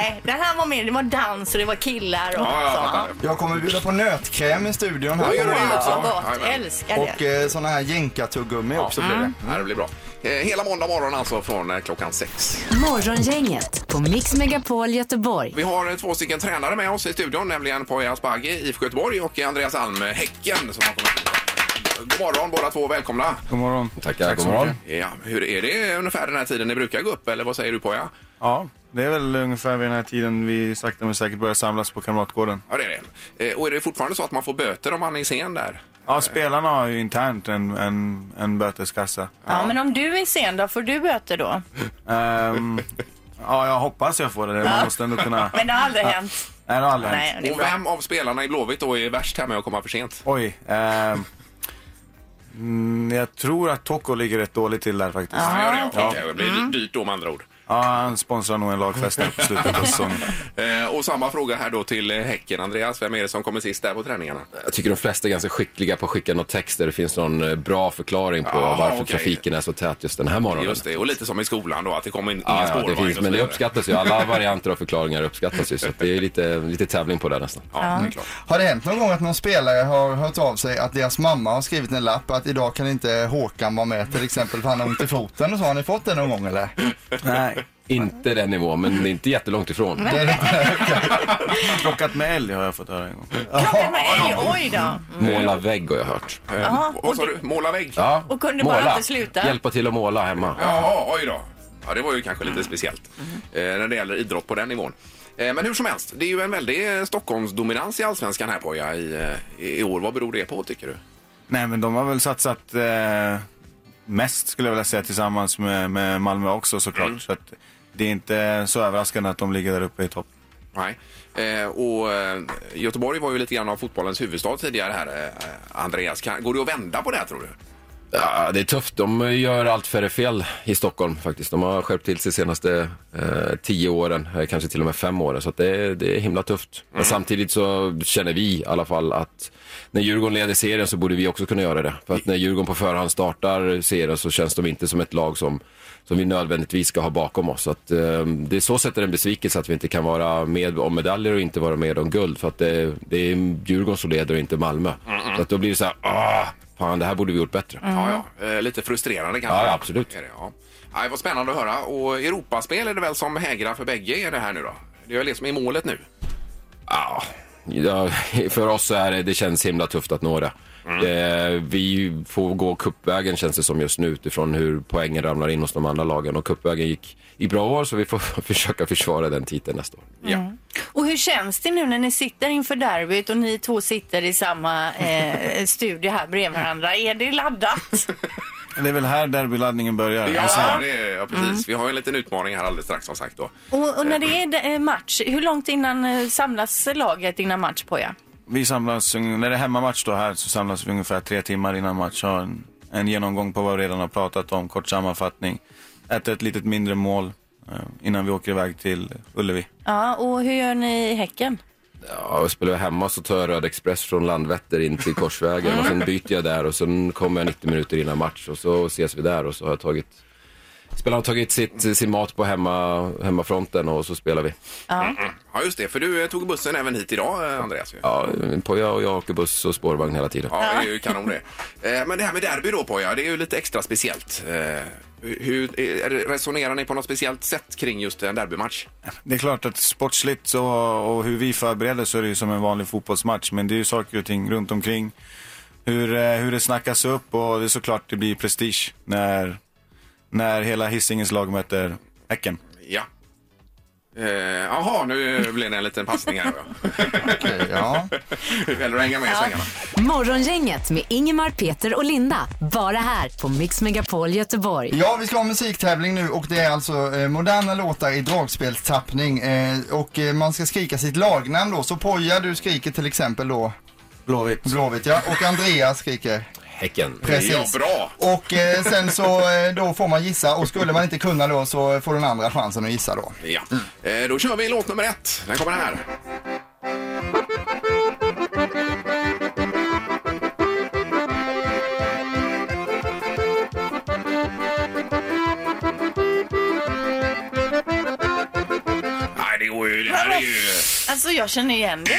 Speaker 2: Nej, den här var mer, det var dans och det var killar och
Speaker 1: Ja, jag
Speaker 2: så.
Speaker 1: fattar.
Speaker 5: Jag kommer bjuda på nötkräm i studion här.
Speaker 1: Ja, gör du det också?
Speaker 2: Ja, gott.
Speaker 1: Jajamän.
Speaker 2: Älskar
Speaker 5: Och
Speaker 2: det.
Speaker 5: eh, såna här jänkartuggummi också blir det. Mm.
Speaker 1: Ja, det blir bra. Eh, Hela måndag morgon alltså från eh, klockan sex.
Speaker 4: Morgongänget på Mix Megapol Göteborg.
Speaker 1: Vi har eh, två stycken tränare med oss i studion, nämligen Poya Asbaghi i IFK Göteborg och Andreas Alm eh, Häcken. Som har kommit. God morgon båda två, välkomna!
Speaker 8: God morgon. Tackar,
Speaker 5: Tack
Speaker 8: god
Speaker 5: så
Speaker 8: morgon.
Speaker 5: mycket.
Speaker 1: Ja, hur är det ungefär den här tiden ni brukar gå upp eller vad säger du Poya?
Speaker 8: Ja, det är väl ungefär vid den här tiden vi sakta men säkert börjar samlas på Kamratgården.
Speaker 1: Ja, det är det. Eh, Och är det fortfarande så att man får böter om man är sen där?
Speaker 8: Ja, spelarna har ju internt en, en, en böteskassa.
Speaker 2: Ja, men om du är sen då, får du böter då?
Speaker 8: Ehm, ja, jag hoppas jag får det. Man måste ändå kunna...
Speaker 2: Men det har aldrig hänt.
Speaker 8: Nej, det har aldrig hänt.
Speaker 2: Nej, det är
Speaker 1: Och
Speaker 2: bra.
Speaker 1: vem av spelarna i Blåvitt då är värst här med att komma för sent?
Speaker 8: Oj. ehm, mm, jag tror att Tocco ligger rätt dåligt till där faktiskt.
Speaker 1: Ja, det, gör det.
Speaker 8: Ja.
Speaker 1: Okej, det blir
Speaker 2: Mm.
Speaker 1: dyrt då med andra ord.
Speaker 8: Ja, han sponsrar nog en lagfest här på slutet av säsongen.
Speaker 1: Eh, Och samma fråga här då till eh, Häcken, Andreas. Vem är det som kommer sist där på träningarna?
Speaker 9: Jag tycker de flesta är ganska skickliga på att skicka någon text där det finns någon eh, bra förklaring på
Speaker 1: Ja,
Speaker 9: varför
Speaker 1: Ah, okej.
Speaker 9: trafiken är så tät just den här morgonen.
Speaker 1: Just det, och lite som i skolan då, att det kommer in ingen
Speaker 9: Ja, ja, det
Speaker 1: spårvagn
Speaker 9: finns,
Speaker 1: och så
Speaker 9: men det
Speaker 1: vidare.
Speaker 9: uppskattas ju. Alla varianter av förklaringar uppskattas ju. Så att det är lite, lite tävling på det nästan.
Speaker 1: Ja, det är klart.
Speaker 5: Har eh, det hänt någon gång att någon spelare har hört av sig att deras mamma har skrivit en lapp att idag kan inte Håkan vara med till exempel för han har ont i foten och så. Har ni fått det någon gång eller?
Speaker 8: Nej.
Speaker 9: Inte den nivån, men det är inte jättelångt ifrån.
Speaker 8: Plockat med älg har jag fått höra en gång.
Speaker 10: Klockan med älg, oj då.
Speaker 9: Måla vägg har jag hört.
Speaker 1: Eh,
Speaker 10: Jaha,
Speaker 1: Vad sa du? Måla vägg?
Speaker 9: Ja.
Speaker 10: Mm. Och kunde bara inte sluta.
Speaker 9: Hjälpa till att måla hemma.
Speaker 1: Jaha, oj då. Ja, det var ju kanske lite speciellt eh, när det gäller idrott på den nivån. Eh, men hur som helst, det är ju en väldig eh, Stockholmsdominans i allsvenskan här Poja i, eh, i år. Vad beror det på tycker du?
Speaker 8: Nej, men de har väl satsat eh, mest skulle jag vilja säga tillsammans med, med Malmö också såklart.
Speaker 1: Mm.
Speaker 8: Så att det är inte så överraskande att de ligger där uppe i topp.
Speaker 1: Nej. Eh, och eh, Göteborg var ju lite grann av fotbollens huvudstad tidigare här, eh, Andreas. Kan, går det att vända på det här tror du?
Speaker 9: Ja, det är tufft. De gör allt färre fel i Stockholm faktiskt. De har skärpt till sig senaste eh, tio åren, eh, kanske till och med fem åren. Så att det, är- det är himla tufft. Men samtidigt så känner vi i alla fall att när Djurgården leder serien så borde vi också kunna göra det. För att när Djurgården på förhand startar serien så känns de inte som ett lag som, som vi nödvändigtvis ska ha bakom oss. Så att, eh, det är så sätt är det en besvikelse att vi inte kan vara med om medaljer och inte vara med om guld. För att det, det är Djurgården som leder och inte Malmö. Så att då blir det så här, ah, fan det här borde vi gjort bättre.
Speaker 8: Mm.
Speaker 1: Ja, ja. Eh, lite frustrerande kanske.
Speaker 9: Ja, ja, absolut.
Speaker 1: Är det, ja. Nej, vad spännande att höra. Och Europaspel är det väl som hägrar för bägge er det här nu då? Det är väl det som är målet nu?
Speaker 9: Ja, ja, för oss så är det, det känns himla tufft att nå det.
Speaker 1: Mm.
Speaker 9: Eh, vi får gå kuppvägen känns det som just nu utifrån hur poängen ramlar in hos de andra lagen. Och kuppvägen gick i bra år så vi får försöka försvara den titeln nästa år.
Speaker 10: Och hur känns det nu när ni sitter inför derbyt och ni två sitter i samma eh, studio här bredvid varandra? Är det laddat?
Speaker 8: Det är väl här derbyladdningen börjar.
Speaker 1: Ja,
Speaker 8: Alltså,
Speaker 1: det, är- ja precis. Vi har ju en liten utmaning här alldeles strax som sagt då.
Speaker 10: Och, och när det är eh, match, hur långt innan eh, samlas laget innan match på er?
Speaker 8: vi samlas, un- när det är hemmamatch då här så samlas vi ungefär tre timmar innan match. Har en, en genomgång på vad vi redan har pratat om, kort sammanfattning. Äter ett litet mindre mål eh, innan vi åker iväg till Ullevi.
Speaker 10: Ja, och hur gör ni i Häcken?
Speaker 9: Ja, och spelar jag hemma så tar jag Röd Express från Landvetter in till Korsvägen och sen byter jag där och sen kommer jag 90 minuter innan match och så ses vi där och så har jag tagit Spelarna har tagit sitt, sin mat på hemma, hemmafronten och så spelar vi.
Speaker 1: Mm, Ja, just det. För du eh, tog bussen även hit idag, eh, Andreas. ju.
Speaker 9: Ja, Poja och jag åker buss och spårvagn hela tiden.
Speaker 1: Ja, det är ju kanon det. Eh, Men det här med derby då Poja, det är ju lite extra speciellt. Eh, Hur eh, resonerar ni på något speciellt sätt kring just en derbymatch?
Speaker 8: Det är klart att sportsligt så, och hur vi förbereder så är det ju som en vanlig fotbollsmatch. Men det är ju saker och ting runt omkring. Hur, eh, hur det snackas upp och det är såklart det blir prestige när, när hela Hisingens lag möter Häcken.
Speaker 1: Ja. Eh, Jaha, nu blev det en liten passning här. då.
Speaker 5: Ja.
Speaker 1: Eller hänga med i svängarna.
Speaker 4: Morgongänget med Ingemar, Peter och Linda. Bara här på Mix Megapol Göteborg.
Speaker 5: ja, vi ska ha musiktävling nu och det är alltså eh, moderna låtar i dragspelstappning eh, och eh, man ska skrika sitt lagnamn då. Så Poja, du skriker till exempel då
Speaker 8: Blåvitt.
Speaker 5: Blåvitt ja, och Andreas skriker
Speaker 9: Häcken.
Speaker 5: precis.
Speaker 1: Ja, bra.
Speaker 5: Och eh, sen så eh, då får man gissa och skulle man inte kunna då så får den andra chansen att gissa då.
Speaker 1: Ja. Eh, Då kör vi låt nummer ett. Den kommer här. Nej, det går ju. Det här är ju...
Speaker 10: Alltså jag känner igen det.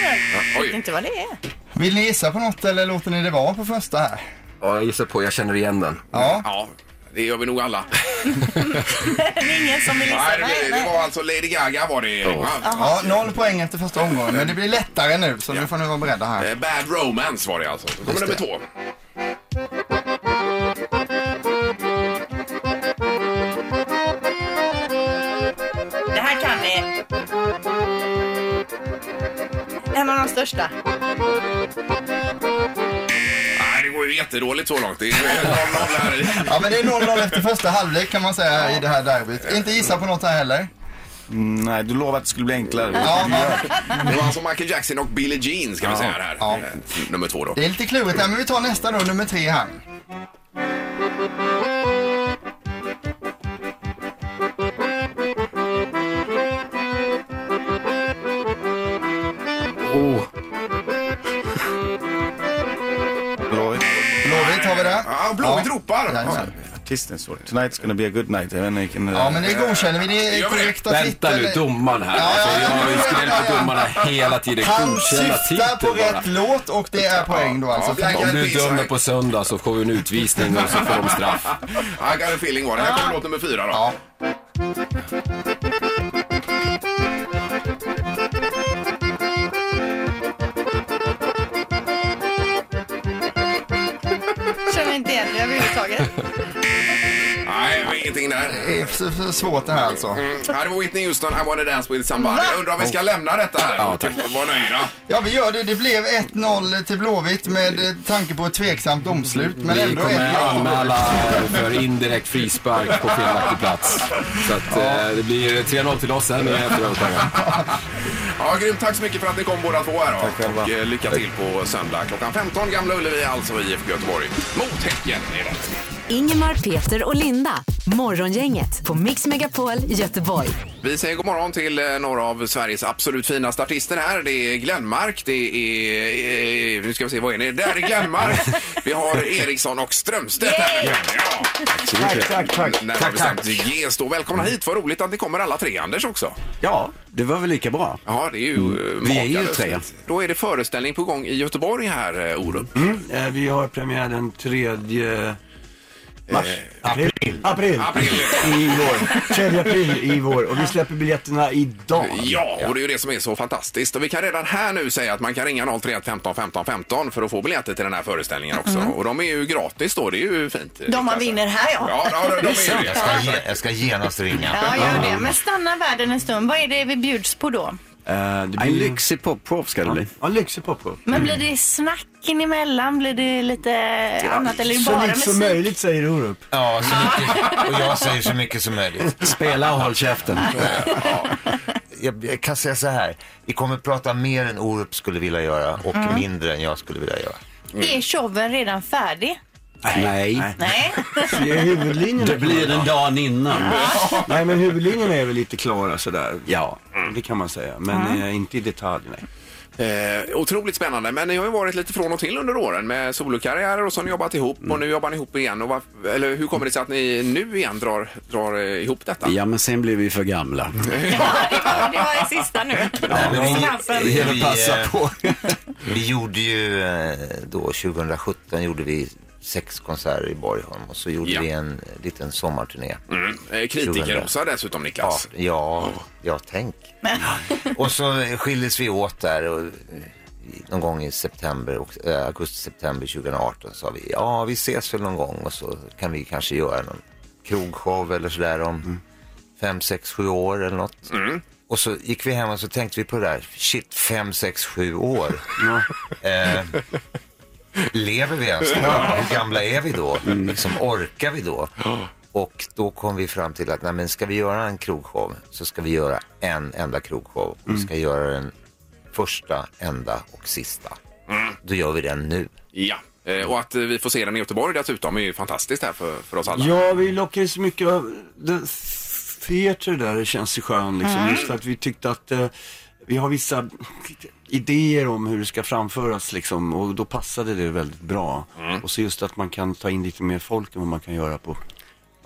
Speaker 10: Jag
Speaker 1: oj.
Speaker 10: vet inte vad det är.
Speaker 5: Vill ni gissa på något eller låter ni det vara på första här?
Speaker 9: Ja, jag gissar på, jag känner igen den.
Speaker 5: Ja.
Speaker 1: Ja, det gör vi nog alla.
Speaker 10: Ingen som vill gissa.
Speaker 1: Nej, det, det var alltså Lady Gaga var det. Erik, va?
Speaker 5: Ja, noll poäng efter första omgången, men det blir lättare nu så nu får ni vara beredda här.
Speaker 1: Eh, Bad Romance var det alltså. Då kommer nummer två.
Speaker 10: Det här kan ni. En av de största.
Speaker 1: Nej, det går ju jättedåligt så långt. Det är 0-0 här. i-
Speaker 5: Ja, men det är 0-0 efter första halvlek kan man säga i det här derbyt. Inte gissa på något här heller.
Speaker 8: Mm, nej, du lovade att det skulle bli enklare.
Speaker 5: Ja, ja.
Speaker 1: Det var alltså Michael Jackson och Billie Jean ska vi säga här.
Speaker 5: Ja.
Speaker 1: Eh, Nummer två då.
Speaker 5: Det är lite klurigt här, men vi tar nästa då, nummer tre här.
Speaker 8: Blåvitt.
Speaker 5: Blåvitt har vi det.
Speaker 1: Ja, Blåvitt
Speaker 5: Ja.
Speaker 1: ropar.
Speaker 5: Jajamän.
Speaker 8: Artisten står det. Tonight's gonna be a good night. Jag vet inte vilken
Speaker 5: Ja, men det godkänner vi. Det
Speaker 1: Gör
Speaker 5: är
Speaker 1: vi det?
Speaker 5: korrekta
Speaker 9: Vänta nu,
Speaker 5: titeln.
Speaker 9: domaren här.
Speaker 5: Ja, ja,
Speaker 9: Alltså, jag
Speaker 5: ja,
Speaker 9: har ju
Speaker 5: ja,
Speaker 9: skrällt
Speaker 5: ja,
Speaker 9: på
Speaker 5: ja.
Speaker 9: domarna hela tiden.
Speaker 5: Han
Speaker 9: Godkänna
Speaker 5: syftar på
Speaker 9: titeln bara.
Speaker 5: rätt låt och det är poäng då alltså.
Speaker 1: Ja,
Speaker 9: Om du
Speaker 1: Visar.
Speaker 9: dömer på söndag så får vi en utvisning och så får de straff.
Speaker 1: I got a feeling var det. Här kommer låt nummer fyra då.
Speaker 5: Ja.
Speaker 2: Känner inte igen det överhuvudtaget.
Speaker 1: Nej, jag har ingenting där.
Speaker 5: Det är för- för svårt det här alltså. Oh.
Speaker 1: Mm. Ja, det var Whitney Houston, I wanna dance with somebody. Jag undrar om vi ska lämna detta här ja, tack. och vara nöjda.
Speaker 5: Ja, vi gör det. Det blev 1-0 till Blåvitt med eh, tanke på ett tveksamt omslut. Men
Speaker 9: Vi
Speaker 5: ändå
Speaker 9: kommer
Speaker 5: 1-0.
Speaker 9: anmäla för indirekt frispark på felaktig plats. Så att eh, det blir 3-0 till oss här med efter överklagan.
Speaker 1: Ja, grymt. Tack så mycket för att ni kom båda två här. Tack själva. Och eh, lycka till på söndag klockan 15, Gamla Ullevi, alltså IFK Göteborg. Mot Häcken är det.
Speaker 4: Ingemar, Peter och Linda. Morgongänget på Mix Megapol Göteborg.
Speaker 1: Vi säger god morgon till eh, några av Sveriges absolut finaste artister här. Det är Glenmark, det är... eh, Nu ska vi se, vad är ni? Där är Glenmark! Vi har Eriksson och Strömstedt här. Ja.
Speaker 11: Tack, tack, tack.
Speaker 1: När har
Speaker 11: tack, tack.
Speaker 1: bestämt ges då. Välkomna hit, vad roligt att ni kommer alla tre. Anders också.
Speaker 11: Ja, det var väl lika bra.
Speaker 1: Ja, det är ju
Speaker 12: Mm.
Speaker 1: eh,
Speaker 11: Vi är ju
Speaker 1: makalöst.
Speaker 11: tre.
Speaker 1: Då är det föreställning på gång i Göteborg här, eh, Orup.
Speaker 11: Mm, eh, vi har premiär den tredje mars. april. April. I vår. 3 april i vår. Och vi släpper biljetterna idag.
Speaker 1: Ja, och det är ju det som är så fantastiskt. Och vi kan redan här nu säga att man kan ringa 031 15 15 15 för att få biljetter till den här föreställningen också.
Speaker 11: Mm.
Speaker 2: Mhm.
Speaker 1: Och de är ju gratis då, det är ju fint.
Speaker 2: De man vinner här ja.
Speaker 1: Ja, ja, de- de är ju det.
Speaker 13: Jag ska, ge, jag ska genast ringa.
Speaker 10: Ja, gör
Speaker 2: Mm.
Speaker 10: det. Men stanna världen en stund. Vad är det vi bjuds på då?
Speaker 11: En lyxig poprov ska det bli. Ja, en lyxig poprov.
Speaker 10: Men blir det snacken emellan? Blir det lite annat? Eller är det
Speaker 11: så
Speaker 10: bara
Speaker 11: likt som
Speaker 10: musik?
Speaker 11: möjligt säger Orup.
Speaker 13: Ja, så mycket, och jag säger så mycket som möjligt.
Speaker 11: Spela och håll käften.
Speaker 13: Jag, jag kan säga så här, vi kommer prata mer än Orup skulle vilja göra och
Speaker 10: Mm.
Speaker 13: mindre än jag skulle vilja göra.
Speaker 10: Är showen redan färdig?
Speaker 11: Nej.
Speaker 10: Nej.
Speaker 11: Det är huvudlinjen.
Speaker 12: Det blir den dagen innan.
Speaker 11: Nej, men huvudlinjerna är väl lite klara sådär. Ja, det kan man säga. Men eh, inte i detalj, nej.
Speaker 1: Eh, otroligt spännande, men ni har ju varit lite från och till under åren med solokarriärer och så har ni jobbat ihop
Speaker 11: Mm.
Speaker 1: och nu jobbar ni ihop igen. Och varf- eller hur kommer det sig att ni nu igen drar, drar eh, ihop detta?
Speaker 12: Ja, men sen blev vi för gamla.
Speaker 10: Ja, det var det sista nu. Snappen.
Speaker 13: Vi- eh, vi gjorde ju eh, då 2017 gjorde vi sex konserter i Borgholm och så gjorde
Speaker 1: Ja.
Speaker 13: vi en liten sommarturné.
Speaker 1: Mm. Eh, Kritikerrosa dessutom Niklas.
Speaker 13: Ja, ja, ja tänk. Mm. och så skildes vi åt där och eh, någon gång i september, och- eh, augusti-september 2018 sa vi ja vi ses väl någon gång och så kan vi kanske göra någon krogshow eller sådär om fem, sex, sju år eller något. Och så gick vi hem och så tänkte vi på det där, shit, fem, sex, sju år. Eh, lever vi ens då? Hur gamla är vi då?
Speaker 11: Mm.
Speaker 13: Liksom, orkar vi då? Och då kom vi fram till att nej, men ska vi göra en krogshow så ska vi göra en enda krogshow.
Speaker 11: Mm.
Speaker 13: Vi ska göra den första, enda och sista. Då gör vi den nu.
Speaker 1: Mm. Ja. Eh, och att eh, vi får se den i Göteborg dessutom är ju fantastiskt här för, för oss alla.
Speaker 11: Ja, vi lockades så mycket av den theater där det känns så skön liksom.
Speaker 1: Mm.
Speaker 11: Just för att vi tyckte att eh, vi har vissa idéer om hur det ska framföras liksom och då passade det väldigt bra.
Speaker 1: Mm.
Speaker 11: Och så just att man kan ta in lite mer folk än vad man kan göra på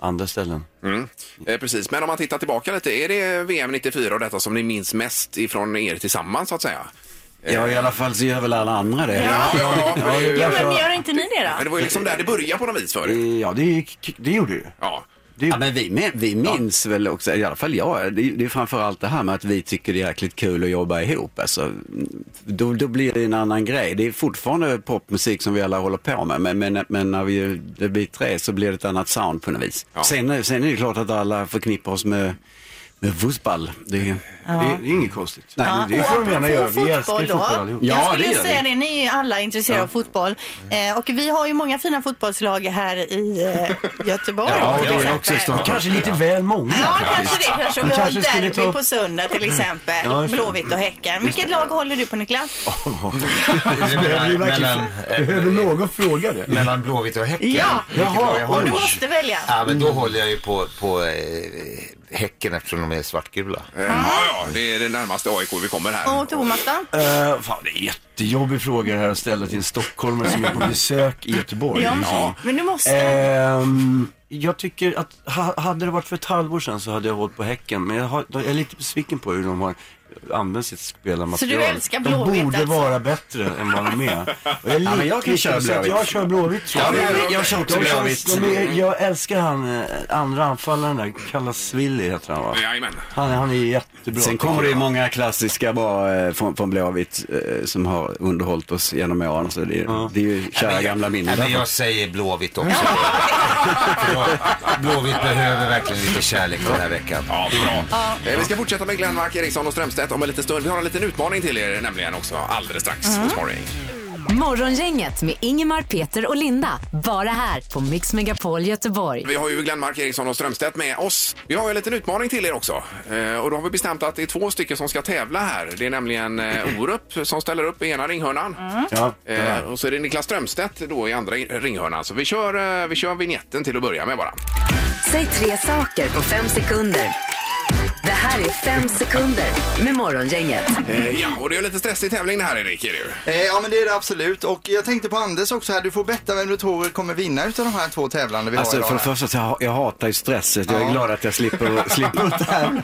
Speaker 11: andra ställen.
Speaker 1: Mm. Eh, precis, men om man tittar tillbaka lite, är det VM 94 och detta som ni minns mest ifrån er tillsammans så att säga?
Speaker 12: Ja, i alla fall så gör väl alla andra det.
Speaker 1: Ja, ja, ja.
Speaker 10: Ja, men gör inte ni det
Speaker 1: Men det
Speaker 10: då?
Speaker 1: var ju liksom där det började på något vis för er.
Speaker 11: Eh, Ja, det, gick- det gjorde ju.
Speaker 1: Ja.
Speaker 12: Ja, men vi, men vi minns väl också, i alla fall jag, det, det är framförallt det här med att vi tycker det är jäkligt kul att jobba ihop. Alltså, då, då blir det en annan grej. Det är fortfarande popmusik som vi alla håller på med, men, men, men när vi, det blir tre så blir det ett annat sound på något vis. Sen, är- sen är det klart att alla förknippar oss med, med fotboll. Det,
Speaker 11: Ja. Det- det är inget konstigt.
Speaker 12: Nej,
Speaker 11: Ja,
Speaker 12: det
Speaker 11: och
Speaker 12: får de
Speaker 11: apropå
Speaker 12: gärna göra. Vi älskar
Speaker 11: fotboll
Speaker 12: ju
Speaker 11: då.
Speaker 12: fotboll allihop.
Speaker 2: jag
Speaker 12: Ja, det
Speaker 2: skulle säga
Speaker 12: gör vi.
Speaker 2: det, ni är ju alla intresserade av fotboll. Eh, och vi har ju många fina fotbollslag här i eh, Göteborg. till exempel.
Speaker 11: Kanske lite väl många.
Speaker 2: Ja, kanske det. Kanske vi har
Speaker 11: Kanske skulle
Speaker 2: derby
Speaker 11: ta-
Speaker 2: på söndag till exempel.
Speaker 11: Ja, just det.
Speaker 2: Blåvitt och Häcken. Vilket lag håller du på Niklas?
Speaker 11: Det behöver ju verkligen- Behöver någon fråga det?
Speaker 13: eh, Mellan Blåvitt och Häcken?
Speaker 2: Ja.
Speaker 13: Vilket lag jag håller?
Speaker 2: Du måste välja.
Speaker 13: Ja, men då
Speaker 1: Mm.
Speaker 13: håller jag ju på, på eh, Häcken eftersom de är svartgula.
Speaker 1: Ja, ja, det är det närmaste AIK vi kommer här.
Speaker 2: Och Thomas då?
Speaker 11: Uh, fan, det är en jättejobbig fråga det här att ställa till en stockholmare som är på besök i Göteborg.
Speaker 2: Ja,
Speaker 11: liksom.
Speaker 2: men du måste.
Speaker 13: Eh.
Speaker 11: Ehm, jag tycker att, ha, hade det varit för ett halvår sedan så hade jag hållit på Häcken. Men jag, har, jag är lite besviken på hur de har använder sitt spelarmaterial.
Speaker 10: Så du älskar
Speaker 11: De
Speaker 10: Blåvitt
Speaker 11: borde
Speaker 10: alltså?
Speaker 11: vara bättre än vad de är. Och jag, är
Speaker 12: Ja, men jag
Speaker 11: lite
Speaker 12: kan köra
Speaker 11: så att
Speaker 12: Blåvitt.
Speaker 11: Jag kör Blåvitt. tror
Speaker 12: Ja, men jag- jag kör också
Speaker 11: De känns-
Speaker 12: Blåvitt.
Speaker 11: de är- Jag älskar han eh, andra anfallaren där, Kalasvili heter han va?
Speaker 1: Jajamän.
Speaker 11: Han, han är jättebra.
Speaker 12: Sen kommer det ju många klassiska bara eh, från, från Blåvitt eh, som har underhållit oss genom åren. Så det, är- det är ju kära gamla minnen. alltså.
Speaker 13: Nej, men jag säger Blåvitt också. Blåvitt behöver verkligen lite kärlek den här veckan.
Speaker 1: Ja, bra. Eh, Vi ska fortsätta med Glenn Mark Eriksson och Strömstedt om en liten stund. Vi har en liten utmaning till er nämligen också alldeles strax
Speaker 4: Mm.
Speaker 1: hos Morgon.
Speaker 4: Morgongänget med Ingemar, Peter och Linda. Bara här på Mix Megapol Göteborg.
Speaker 1: Vi har ju Glenn Mark Eriksson och Strömstedt med oss. Vi har ju en liten utmaning till er också. Eh, och då har vi bestämt att det är två stycken som ska tävla här. Det är nämligen eh, Orup som ställer upp i ena ringhörnan.
Speaker 11: Ja,
Speaker 1: Eh, och så är det Niklas Strömstedt då i andra in- ringhörnan. Så vi kör, eh, vi kör vignetten till att börja med bara.
Speaker 4: Säg tre saker på fem sekunder. Det här är fem sekunder med Morgongänget.
Speaker 1: Eh, ja, och det är en lite stressig tävling det här Erik. Är det ju.
Speaker 5: Eh, ja men det är det absolut och jag tänkte på Anders också här, du får betta vem du tror kommer vinna utav de här två tävlande vi har
Speaker 12: Alltså
Speaker 5: idag.
Speaker 12: för det
Speaker 5: här.
Speaker 12: första, så jag, jag hatar ju stress. Jag
Speaker 5: Ja.
Speaker 12: är glad att jag slipper, slipper det här.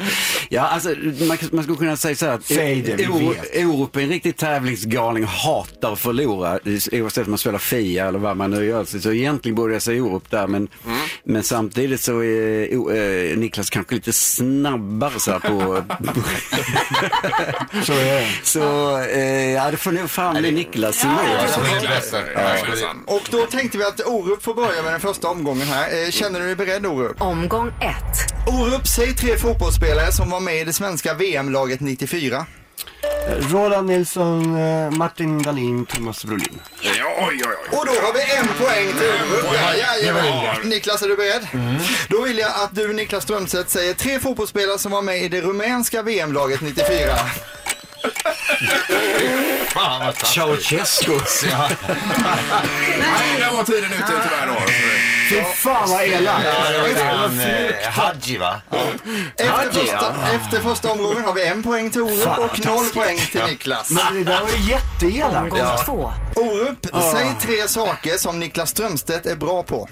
Speaker 12: Ja, alltså, man, kan- man skulle kunna säga så här att
Speaker 11: Säg det, vi
Speaker 12: Oro-
Speaker 11: vet.
Speaker 12: Orup är en riktig tävlingsgalning, hatar att förlora. Oavsett om man spelar Fia eller vad man nu gör. Så så egentligen borde jag säga Orup där, men,
Speaker 13: Mm.
Speaker 12: men samtidigt så är O- eh, Niklas kanske lite snabbare så här på...
Speaker 11: så är det.
Speaker 12: Så, eh, ja, det får nog fan bli Niklas. som är.
Speaker 7: alltså.
Speaker 5: Och då tänkte vi att Orup får börja med den första omgången här. Eh, Känner du dig beredd Orup?
Speaker 4: Omgång ett.
Speaker 5: Orup, säg tre fotbollsspelare som var med i det svenska VM-laget 94.
Speaker 11: Roland Nilsson, eh, Martin Dahlin, Thomas Brolin.
Speaker 1: Ja, oj, oj, oj.
Speaker 5: Och då har vi en poäng till Orup. Ja, ja,
Speaker 11: Det Mm. var
Speaker 5: ja.
Speaker 11: illa.
Speaker 5: Niklas, är du beredd? Då vill jag att du Niklas Strömstedt säger tre fotbollsspelare som var med i det rumänska VM-laget 94.
Speaker 13: Fan vad
Speaker 12: Ceausescu.
Speaker 1: Nej, där var tiden ute tyvärr då.
Speaker 11: Fy fan vad elakt.
Speaker 13: Ja, det var ju han,
Speaker 5: Fruktansvärt.
Speaker 13: eh, Hadji va?
Speaker 5: Efter
Speaker 13: Hadji,
Speaker 5: första,
Speaker 13: ja.
Speaker 5: efter första omgången har vi en poäng till Orup
Speaker 13: Fan,
Speaker 5: och noll
Speaker 13: taskigt.
Speaker 5: poäng till
Speaker 13: Ja.
Speaker 5: Niklas.
Speaker 11: Men det där var ju jätteelakt.
Speaker 5: Omgång
Speaker 11: Ja.
Speaker 5: två. Orup,
Speaker 11: Ah.
Speaker 5: säg tre saker som Niklas Strömstedt är bra på.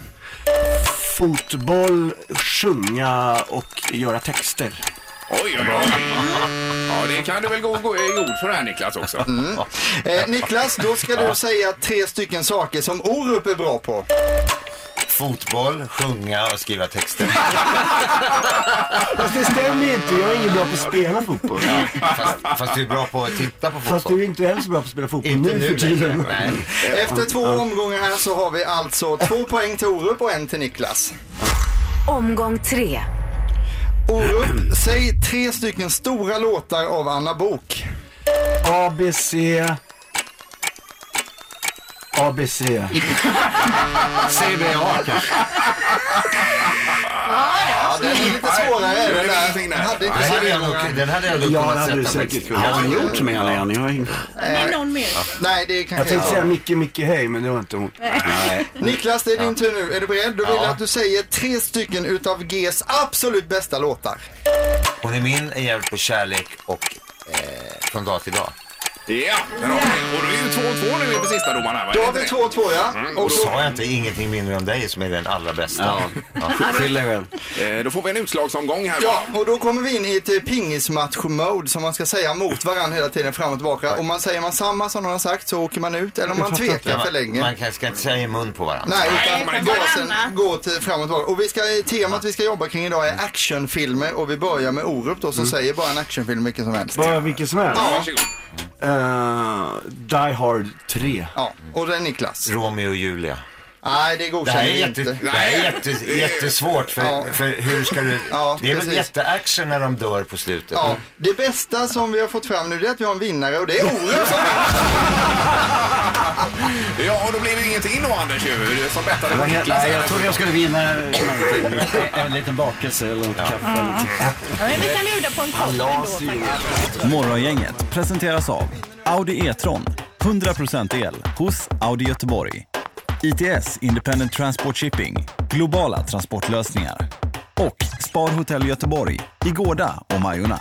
Speaker 11: Fotboll, sjunga och göra texter.
Speaker 1: Oj, oj, oj. Ja, det kan du väl gå, gå i god för det här Niklas också.
Speaker 5: Eh, Niklas, då ska du säga tre stycken saker som Orup är bra på.
Speaker 13: Fotboll, sjunga och skriva texter.
Speaker 11: Fast det stämmer ju inte. Jag är ingen bra på att spela fotboll.
Speaker 13: Fast, fast du är bra på att titta på fotboll.
Speaker 11: Fast du är inte heller så bra på att spela fotboll
Speaker 13: Inte
Speaker 11: nu
Speaker 13: nu
Speaker 11: för tiden.
Speaker 13: längre, nej.
Speaker 5: Efter två omgångar här så har vi alltså två poäng till Orup och en till Niklas.
Speaker 4: Omgång tre.
Speaker 5: Orup, säg tre stycken stora låtar av Anna Bok.
Speaker 11: ABC. ABC.
Speaker 13: CBA kanske.
Speaker 5: Ja, det är lite svårare. Det där. Jag hade
Speaker 13: Den
Speaker 5: inte så
Speaker 13: hade jag
Speaker 5: många.
Speaker 13: nog- den hade jag nog
Speaker 11: Ja,
Speaker 13: kunnat
Speaker 11: det hade du
Speaker 13: sätta
Speaker 11: säkert
Speaker 13: faktiskt.
Speaker 11: kunnat.
Speaker 13: Ja, jo.
Speaker 12: Gjort menar jag. Jag har ingen-
Speaker 5: Nej, någon mer. Nej, det kanske
Speaker 11: Jag tänkte
Speaker 5: inte-
Speaker 11: säga Micke, Micke, hej, men det var inte hon.
Speaker 5: Niklas, det är din tur nu. Är du beredd? Då vill
Speaker 11: Ja.
Speaker 5: jag att du säger tre stycken utav Gs absolut bästa låtar.
Speaker 13: Hon är min, är jävligt på kärlek och eh, från dag till dag.
Speaker 1: Ja, där har vi det. Och då är ju 2-2 nu inför sista domaren här. va?
Speaker 13: Då
Speaker 5: har vi 2-2, ja.
Speaker 1: Mm,
Speaker 13: Och då sa jag inte ingenting mindre om dig som är den allra bästa.
Speaker 1: Ja.
Speaker 13: Skyll
Speaker 12: dig själv.
Speaker 1: Eh, Då får vi en utslagsomgång här.
Speaker 5: Ja, och då kommer vi in i ett eh, pingismatch-mode som man ska säga mot varandra hela tiden fram och tillbaka. Om man säger man samma som någon har sagt så åker man ut eller om man tvekar för länge.
Speaker 13: Man kanske ska inte säga i mun på varandra.
Speaker 5: Nej, utan gasen går till fram och tillbaka. Och vi ska, eh, temat vi ska jobba kring idag
Speaker 11: Mm.
Speaker 5: är actionfilmer och vi börjar med Orup då som säger bara en actionfilm vilken som helst.
Speaker 11: Bara vilken som helst.
Speaker 5: Ja.
Speaker 11: Eh, Die Hard 3.
Speaker 5: Ja, och det är Niklas.
Speaker 13: Romeo och Julia.
Speaker 5: Nej, det
Speaker 13: Det här
Speaker 5: godkänner
Speaker 13: är,
Speaker 5: jag
Speaker 13: jätte,
Speaker 5: inte.
Speaker 13: det här är jätte, jättesvårt för,
Speaker 5: Ja.
Speaker 13: för hur ska du...
Speaker 5: Ja,
Speaker 13: det är väl
Speaker 5: precis.
Speaker 13: jätteaction när de dör på slutet.
Speaker 5: Ja, det bästa som vi har fått fram nu det är att vi har en vinnare och det är Orup som
Speaker 1: Ja, och då blir det ingenting då Anders ju, du som bettade på
Speaker 12: Jag,
Speaker 1: Niklas.
Speaker 12: nej, jag trodde jag skulle vinna någonting. en liten bakelse eller något kaffe. eller någonting.
Speaker 10: Ja, men vi kan bjuda på en kopp ändå faktiskt.
Speaker 14: Morgongänget presenteras av Audi E-tron. 100% el hos Audi Göteborg. ITS Independent Transport Shipping. Globala transportlösningar. Och Spar Hotel Göteborg i Gårda och Majorna.